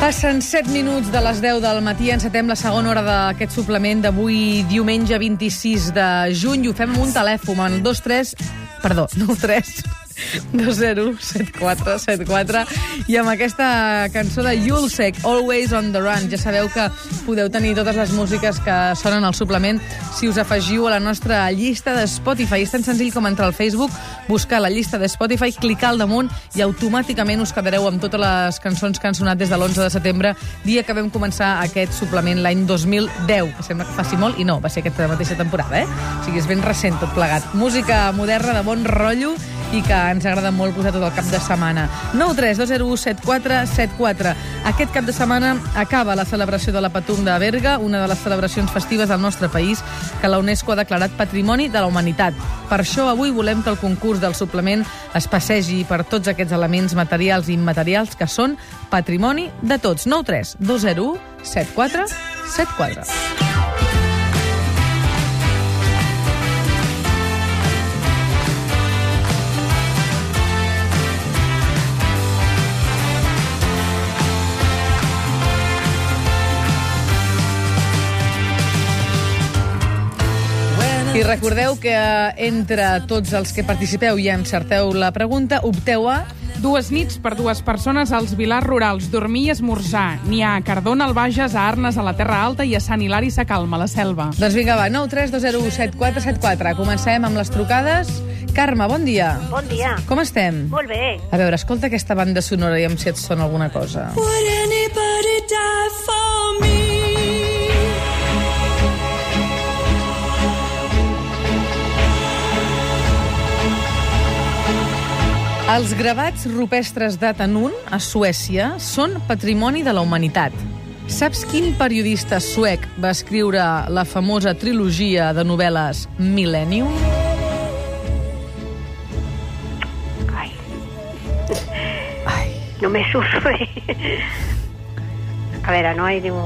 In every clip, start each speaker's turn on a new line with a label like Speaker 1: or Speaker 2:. Speaker 1: Passen 7 minuts de les 10 del matí, encetem la segona hora d'aquest suplement d'avui diumenge 26 de juny i ho fem amb un telèfon, amb el 23... Perdó, 93... 207474 i amb aquesta cançó de Yulsec, Always on the Run. Ja sabeu que podeu tenir totes les músiques que sonen al suplement si us afegiu a la nostra llista de Spotify. És tan senzill com entrar al Facebook, buscar la llista de Spotify, clicar al damunt i automàticament us quedareu amb totes les cançons que han sonat des de l'11 de setembre, dia que vam començar aquest suplement l'any 2010, que sembla que faci molt, i no, va ser aquesta mateixa temporada, eh? O sigui, és ben recent tot plegat. Música moderna de bon rotllo i que ens agrada molt posar tot el cap de setmana. 9 3 2 0 7 4 7 4. Aquest cap de setmana acaba la celebració de la Patum de Berga, una de les celebracions festives del nostre país que la UNESCO ha declarat Patrimoni de la Humanitat. Per això avui volem que el concurs del suplement es passegi per tots aquests elements materials i immaterials que són patrimoni de tots. 9 3 2 0 7 4 7 4. I recordeu que eh, entre tots els que participeu i encerteu la pregunta, opteu a...
Speaker 2: Dues nits per dues persones als Vilars Rurals, dormir i esmorzar. N'hi ha a Cardona, al Bages, a Arnes, a la Terra Alta i a Sant Hilari Sacalma, a la Selva.
Speaker 1: Doncs vinga, va, 9 3 2 0 7 4 7 4. Comencem amb les trucades. Carme, bon dia.
Speaker 3: Bon dia.
Speaker 1: Com estem?
Speaker 3: Molt bé.
Speaker 1: A veure, escolta aquesta banda sonora i em si et sona alguna cosa.
Speaker 4: Would anybody die for me?
Speaker 1: Els gravats rupestres de Tanun, a Suècia, són patrimoni de la humanitat. Saps quin periodista suec va escriure la famosa trilogia de novel·les Millennium?
Speaker 3: Ai,
Speaker 1: Ai,
Speaker 3: no me sufre. A veure, no? Hi diu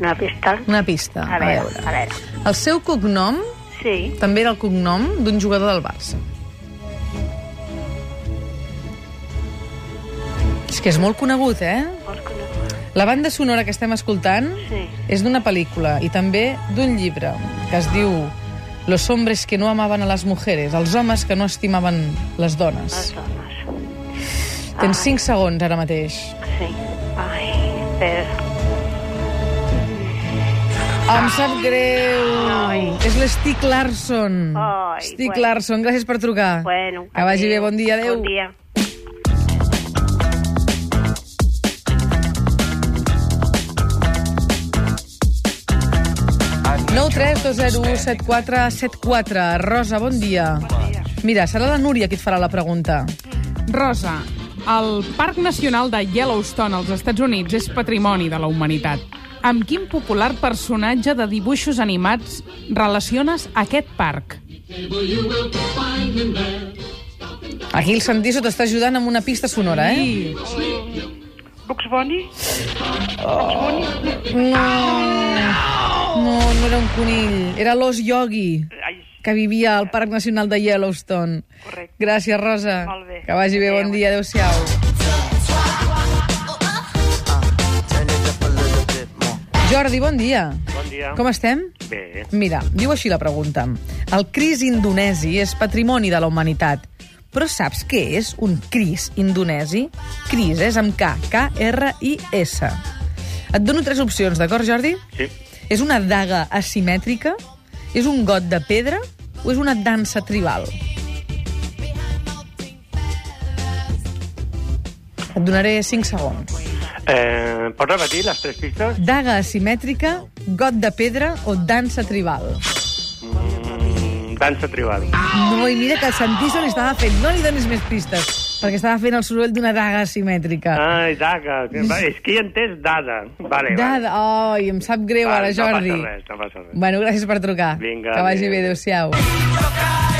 Speaker 3: una pista.
Speaker 1: una pista.
Speaker 3: A veure, a veure.
Speaker 1: El seu cognom
Speaker 3: Sí.
Speaker 1: també era el cognom d'un jugador del Barça. És que és molt conegut, eh?
Speaker 3: vols que no?
Speaker 1: La banda sonora que estem escoltant
Speaker 3: Sí.
Speaker 1: és d'una pel·lícula i també d'un llibre que es diu Los hombres que no amaven a les mujeres, els homes que no estimaven les dones.
Speaker 3: Les dones.
Speaker 1: Tens 5 segons ara mateix.
Speaker 3: Sí. Ai, per...
Speaker 1: Em sap greu.
Speaker 3: Ai.
Speaker 1: És l'Stig Larsson.
Speaker 3: Ai,
Speaker 1: Stig
Speaker 3: bueno.
Speaker 1: Larsson, gràcies per trucar.
Speaker 3: Bueno.
Speaker 1: que vagi
Speaker 3: adéu.
Speaker 1: bé, bon dia, adeu.
Speaker 3: Bon dia.
Speaker 1: Rosa, bon dia. Mira, serà la Núria qui et farà la pregunta.
Speaker 2: Rosa, el Parc Nacional de Yellowstone als Estats Units és patrimoni de la humanitat. Amb quin popular personatge de dibuixos animats relaciones aquest parc?
Speaker 1: Aquí el Sandiso t'està ajudant amb una pista sonora, eh?
Speaker 2: I
Speaker 5: Bugs Bunny?
Speaker 1: No, no, no era un conill. Era l'os yogi
Speaker 5: Ai,
Speaker 1: que vivia al Parc Nacional de Yellowstone.
Speaker 5: Correcte.
Speaker 1: Gràcies, Rosa.
Speaker 5: Molt bé.
Speaker 1: Que vagi bé, bon dia, adeu-siau. Jordi, bon dia.
Speaker 5: bon dia.
Speaker 1: Com estem?
Speaker 5: Bé,
Speaker 1: Mira, diu així la pregunta. El cris indonesi és patrimoni de la humanitat. Però saps què és un cris indonesi? Cris és amb K, K-R-I-S. Et dono tres opcions, d'acord, Jordi?
Speaker 5: sí.
Speaker 1: És una daga asimètrica? És un got de pedra? O és una dansa tribal? Et donaré 5 segons.
Speaker 5: Eh, pots repetir les tres pistes?
Speaker 1: Daga asimètrica, got de pedra o dansa tribal?
Speaker 5: Mm, dansa tribal.
Speaker 1: No, i mira que el Santiso li estava fent... No li donis més pistes, perquè estava fent el soroll d'una daga asimètrica.
Speaker 5: Ai, daga. Ah, eh, Va, És que hi he entès dada. Vale, vale.
Speaker 1: Dada... Ai, em sap greu
Speaker 5: Va,
Speaker 1: ara, Jordi.
Speaker 5: No passa res, no passa res.
Speaker 1: Bueno, gràcies per trucar.
Speaker 5: Vinga,
Speaker 1: que vagi
Speaker 5: adéu.
Speaker 1: bé, adéu-siau.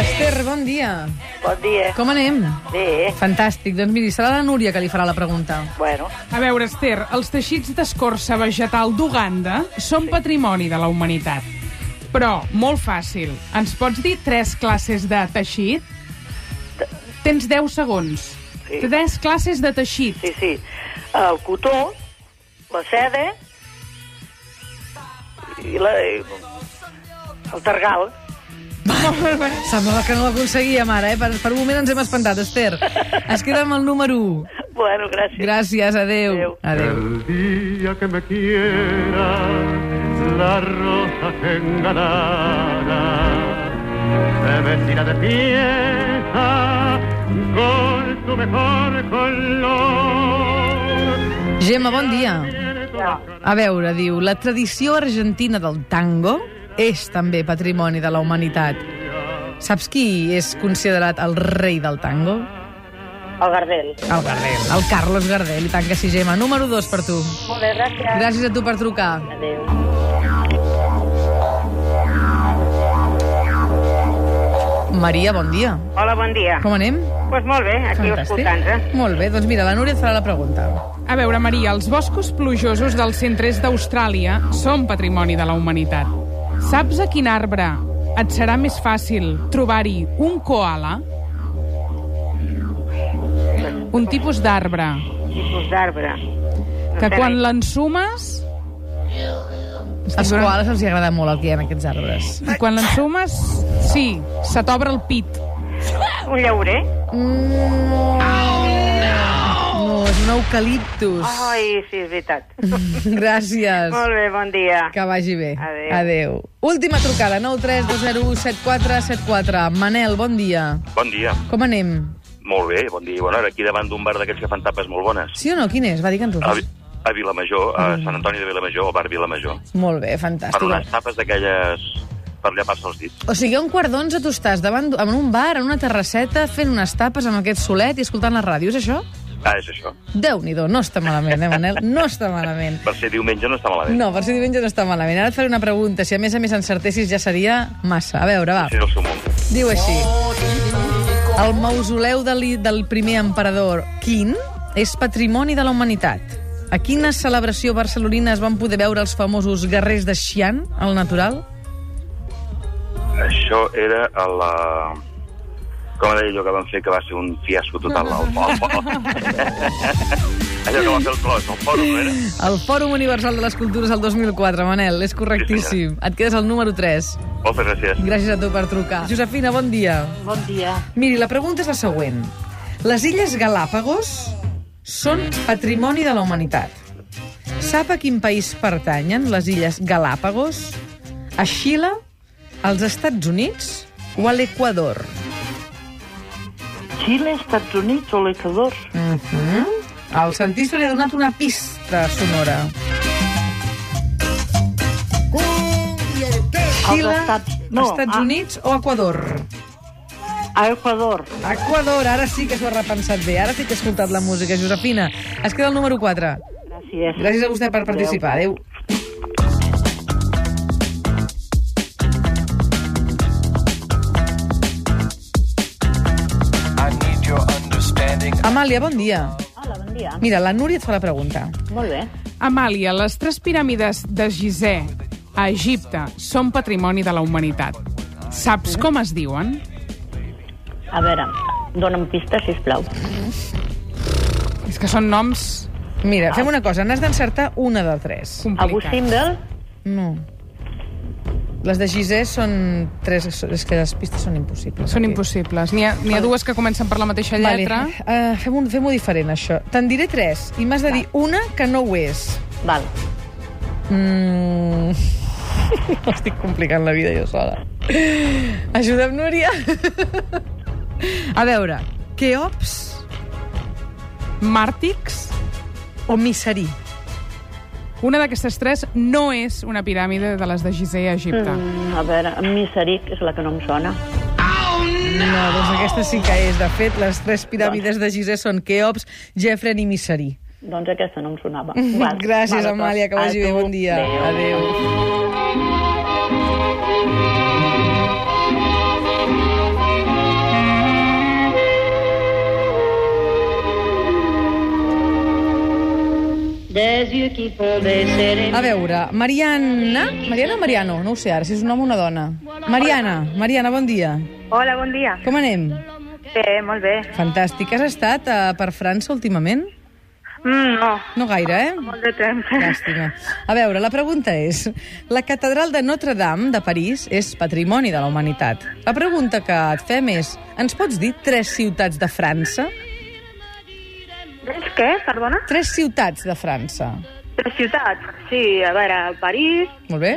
Speaker 1: Esther, bon dia.
Speaker 6: Bon Bon dia.
Speaker 1: Com anem?
Speaker 6: Bé.
Speaker 1: Fantàstic. Doncs miri, serà la Núria que li farà la pregunta.
Speaker 6: Bueno,
Speaker 2: A veure, Esther, els teixits d'escorça vegetal d'Uganda són patrimoni de la humanitat. Però, molt fàcil, ens pots dir tres classes de teixit? Tens 10 segons.
Speaker 6: Sí.
Speaker 2: Tres classes de teixit.
Speaker 6: sí, sí. El cotó, la seda i la... i El targal.
Speaker 1: Semblava que no ho aconseguíem ara, eh? Per, per un moment ens hem espantat, Esther. Es queda amb el número 1.
Speaker 6: Bueno, gràcies.
Speaker 1: Gràcies, adeu.
Speaker 6: Adéu.
Speaker 1: Adeu.
Speaker 7: El día que me quiera la rosa que
Speaker 5: Ah,
Speaker 7: engalara se vestirá de pieza con su mejor color.
Speaker 1: Gemma, bon dia. A veure, diu, la tradició argentina del tango és també patrimoni de la humanitat. Saps qui és considerat el rei del tango?
Speaker 6: El gardel.
Speaker 1: El Gardel. El Carlos Gardel, i tant que sí, Gemma. Número 2 per tu.
Speaker 6: Molt bé, gràcies.
Speaker 1: Gràcies a tu per trucar.
Speaker 6: Adéu.
Speaker 1: Maria, bon dia.
Speaker 8: Hola, bon dia.
Speaker 1: Com anem?
Speaker 8: Doncs pues molt bé, aquí escoltant-se.
Speaker 1: Molt bé, doncs mira, la Núria et farà la pregunta.
Speaker 2: A veure, Maria, els boscos plujosos del centre-est d'Austràlia són patrimoni de la humanitat. Saps a quin arbre et serà més fàcil trobar-hi un koala? Un tipus d'arbre
Speaker 8: Tipus d'arbre.
Speaker 2: que quan l'ensumes
Speaker 1: Als koalas els hi agrada molt el que hi ha en aquests arbres.
Speaker 2: quan l'ensumes, sí, se t'obre el pit.
Speaker 8: Un llaurer?
Speaker 1: Mm. No, és un eucaliptus.
Speaker 8: Ai, sí, és veritat.
Speaker 1: Gràcies.
Speaker 8: molt bé, bon dia.
Speaker 1: Que vagi bé.
Speaker 8: Adéu.
Speaker 1: Adéu. Última trucada, 932017474. Manel, bon dia.
Speaker 9: Bon dia.
Speaker 1: Com anem?
Speaker 9: Molt bé, bon dia i bona hora. Aquí davant d'un bar d'aquests que fan tapes molt bones.
Speaker 1: Sí o no? Quin és? Va, digue'ns
Speaker 9: A,
Speaker 1: tu.
Speaker 9: Vi- a Vilamajor, a Sant Antoni de Vilamajor, o bar Vilamajor.
Speaker 1: Molt bé,
Speaker 9: Per unes
Speaker 1: fantàstic.
Speaker 9: tapes d'aquelles per llapar-se els dits.
Speaker 1: O sigui, a un quart d'onze tu estàs davant d- en un bar, en una terrasseta, fent unes tapes amb aquest solet i escoltant la ràdio, és això?
Speaker 9: Ah, és això.
Speaker 1: Déu-n'hi-do, no està malament, eh, Manel? No està malament.
Speaker 9: Per ser diumenge no està malament.
Speaker 1: No, per si diumenge no està malament. Ara et faré una pregunta. Si a més a més encertessis ja seria massa. A veure, va.
Speaker 9: Sí, és el seu món.
Speaker 1: Diu així. El mausoleu de li, del primer emperador, Quint, és patrimoni de la humanitat. A quina celebració barcelonina es van poder veure els famosos guerrers de Xi'an, al natural?
Speaker 9: Això era a la... Com deia allò que van fer, que va ser un fiasco total. El, el, el, allò que va fer el clos, el fòrum, no era?
Speaker 1: Al Fòrum Universal de les Cultures el 2004, Manel, és correctíssim. Et quedes al número 3.
Speaker 9: Moltes gràcies.
Speaker 1: Gràcies a tu per trucar. Josefina, bon dia.
Speaker 6: Bon dia.
Speaker 1: Miri, la pregunta és la següent. Les Illes Galàpagos són patrimoni de la humanitat. Sap a quin país pertanyen les Illes Galàpagos? A Xile, als Estats Units o a l'Equador?
Speaker 6: Xile, Estats Units o l'Equador?
Speaker 1: Mm -hmm. El Santiso li ha donat una pista sonora. Xile,
Speaker 6: Estats- no,
Speaker 1: Estats
Speaker 6: a-
Speaker 1: Units o Equador?
Speaker 6: A Equador.
Speaker 1: Equador, ara sí que s'ho ha repensat bé. Ara sí que he escoltat la música. Josefina, es queda el número 4.
Speaker 6: Gràcies.
Speaker 1: Gràcies a vostè per participar. Adéu. Amàlia, bon dia.
Speaker 6: Hola, bon dia.
Speaker 1: Mira, la Núria et fa la pregunta.
Speaker 6: Molt bé.
Speaker 2: Amàlia, les tres piràmides de Gizeh a Egipte són patrimoni de la humanitat. Saps com es diuen?
Speaker 6: A veure, dona'm pista, sisplau.
Speaker 2: És que són noms
Speaker 1: Mira, fem una cosa, n'has d'encertar una de tres.
Speaker 6: Abu
Speaker 2: complicats.
Speaker 6: Simbel,
Speaker 1: No. Les de Gisè són tres... És que les pistes són impossibles.
Speaker 2: Són
Speaker 1: aquí.
Speaker 2: impossibles. N'hi ha, n'hi ha dues que comencen per la mateixa
Speaker 1: Vale.
Speaker 2: lletra.
Speaker 1: Uh, Fem-ho fem diferent, això. Te'n diré tres, i m'has de dir una que no ho és.
Speaker 6: val.
Speaker 1: Mm. Estic complicant la vida jo sola. Ajuda'm, Núria. A veure, Keops
Speaker 2: Màrtics,
Speaker 1: o Misserí?
Speaker 2: una d'aquestes tres no és una piràmide de les de Gizeh a Egipte. Mm.
Speaker 6: Mm, a veure, Misseric és la que no em sona.
Speaker 1: No, doncs aquesta sí que és. De fet, les tres piràmides de Gizeh són Keops, Jefren i Misserí.
Speaker 6: Doncs aquesta no em sonava.
Speaker 1: Gràcies,
Speaker 6: doncs,
Speaker 1: Amàlia, que
Speaker 6: a
Speaker 1: vagi bé.
Speaker 6: tu.
Speaker 1: Bon dia.
Speaker 6: Adéu.
Speaker 1: Adéu.
Speaker 6: Des yeux qui font des sérénies.
Speaker 1: A veure, Mariana... Mariana o Mariano? No ho sé ara, si és un home o una dona. Mariana, Mariana, bon dia.
Speaker 10: Hola, bon dia.
Speaker 1: Com anem?
Speaker 10: Bé, molt bé.
Speaker 1: Fantàstic. Has estat eh, per França últimament?
Speaker 10: Mm, no,
Speaker 1: No gaire, eh?
Speaker 10: molt de temps.
Speaker 1: Llàstima. A veure, la pregunta és... La catedral de Notre Dame de París és patrimoni de la humanitat. La pregunta que et fem és... Ens pots dir tres ciutats de França?
Speaker 10: És què, perdona?
Speaker 1: Tres ciutats de França.
Speaker 10: Tres ciutats. Sí, a veure, París,
Speaker 1: Molt bé.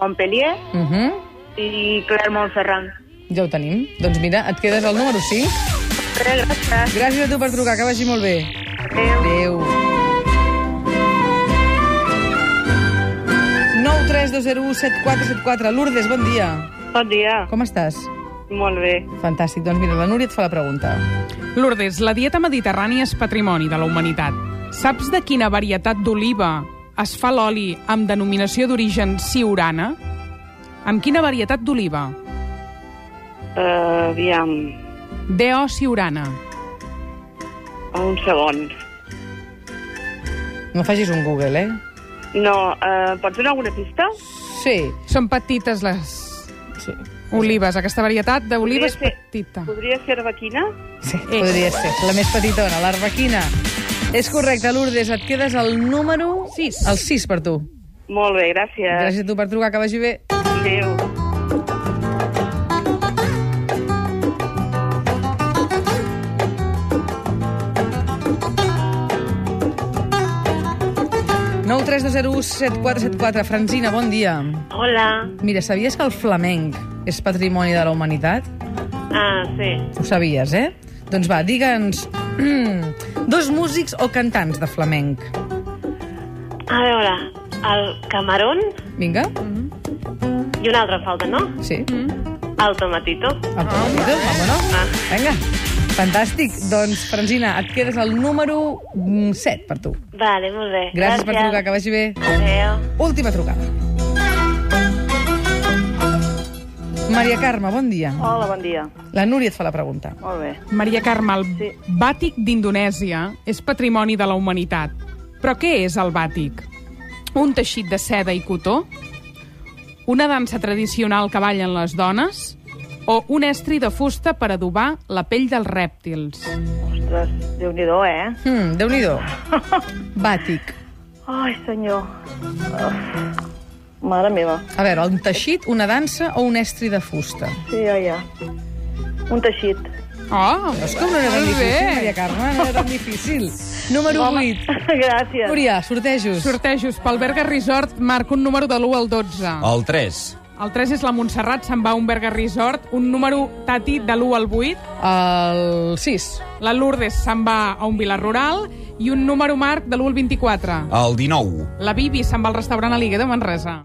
Speaker 10: Montpellier
Speaker 1: Uh -huh.
Speaker 10: i Clermont-Ferrand.
Speaker 1: Ja ho tenim. Doncs mira, et quedes al número 5.
Speaker 10: Bé, gràcies.
Speaker 1: Gràcies a tu per trucar, que vagi molt bé.
Speaker 10: Adéu.
Speaker 1: Adéu. 9 3 2 0 1 7 4 7 4 Lourdes, bon dia.
Speaker 8: Bon dia.
Speaker 1: Com estàs?
Speaker 8: Molt bé.
Speaker 1: Fantàstic. Doncs mira, la Núria et fa la pregunta.
Speaker 2: Lourdes, la dieta mediterrània és patrimoni de la humanitat. Saps de quina varietat d'oliva es fa l'oli amb denominació d'origen siurana? Amb quina varietat d'oliva?
Speaker 8: Uh, aviam,
Speaker 2: D.O. siurana.
Speaker 8: un segon.
Speaker 1: No facis un Google, eh?
Speaker 8: No, uh, pots donar alguna pista?
Speaker 1: Sí.
Speaker 2: Són petites les
Speaker 1: Sí.
Speaker 2: olives. Aquesta varietat d'oliva és
Speaker 8: Podria ser-
Speaker 2: petita.
Speaker 8: Podria ser vaquina?
Speaker 1: Sí, podria ser. La més petitona, l'arbequina. És correcte, Lourdes. Et quedes al número... 6. El 6 per tu.
Speaker 8: Molt bé, gràcies.
Speaker 1: Gràcies a tu per trucar, que vagi bé.
Speaker 8: Adéu.
Speaker 1: quatre. Franzina, bon dia.
Speaker 6: Hola.
Speaker 1: Mira, sabies que el flamenc és patrimoni de la humanitat?
Speaker 6: Ah, sí.
Speaker 1: Ho sabies, eh? Doncs va, digue'ns dos músics o cantants de flamenc.
Speaker 6: A veure, el Camarón
Speaker 1: Vinga,
Speaker 6: i una altra falta, no?
Speaker 1: sí. Mm.
Speaker 6: El Tomatito.
Speaker 1: El Tomatito, vámonos. Vinga, fantàstic. Doncs, Franzina, et quedes al número 7 per tu.
Speaker 6: Vale, molt bé.
Speaker 1: Gràcies, per trucar, que vagi bé.
Speaker 6: Adéu.
Speaker 1: Última trucada. Maria Carme, bon dia.
Speaker 6: Oh.
Speaker 8: Hola, bon dia.
Speaker 1: La Núria et fa la pregunta.
Speaker 8: Molt bé.
Speaker 2: Maria Carme, el Bàtic d'Indonèsia és patrimoni de la humanitat. Però què és el Bàtic? Un teixit de seda i cotó? Una dansa tradicional que ballen les dones? O un estri de fusta per adobar la pell dels rèptils?
Speaker 8: Ostres, déu nhi eh?
Speaker 1: Hmm, Déu-n'hi-do. Bàtic.
Speaker 8: Ai, senyor.
Speaker 6: Mare meva.
Speaker 1: A veure, un teixit, una dansa o un estri de fusta?
Speaker 6: Sí, ja, ja. Un teixit.
Speaker 2: Oh,
Speaker 1: És com no era tan
Speaker 2: molt
Speaker 1: difícil,
Speaker 2: bé.
Speaker 1: Maria Carme, no era tan difícil. Número 8.
Speaker 6: Gràcies.
Speaker 1: Núria, sortejos.
Speaker 2: Sortejos. Pel Berga Resort marca un número de l'1 al 12.
Speaker 11: El 3.
Speaker 2: El 3 és la Montserrat, se'n va a un Berga Resort, un número tati de l'1 al 8.
Speaker 1: El 6.
Speaker 2: La Lourdes se'n va a un vila rural i un número marc de l'1 al 24.
Speaker 11: El 19.
Speaker 2: La Bibi se'n va al restaurant a Ligue de Manresa.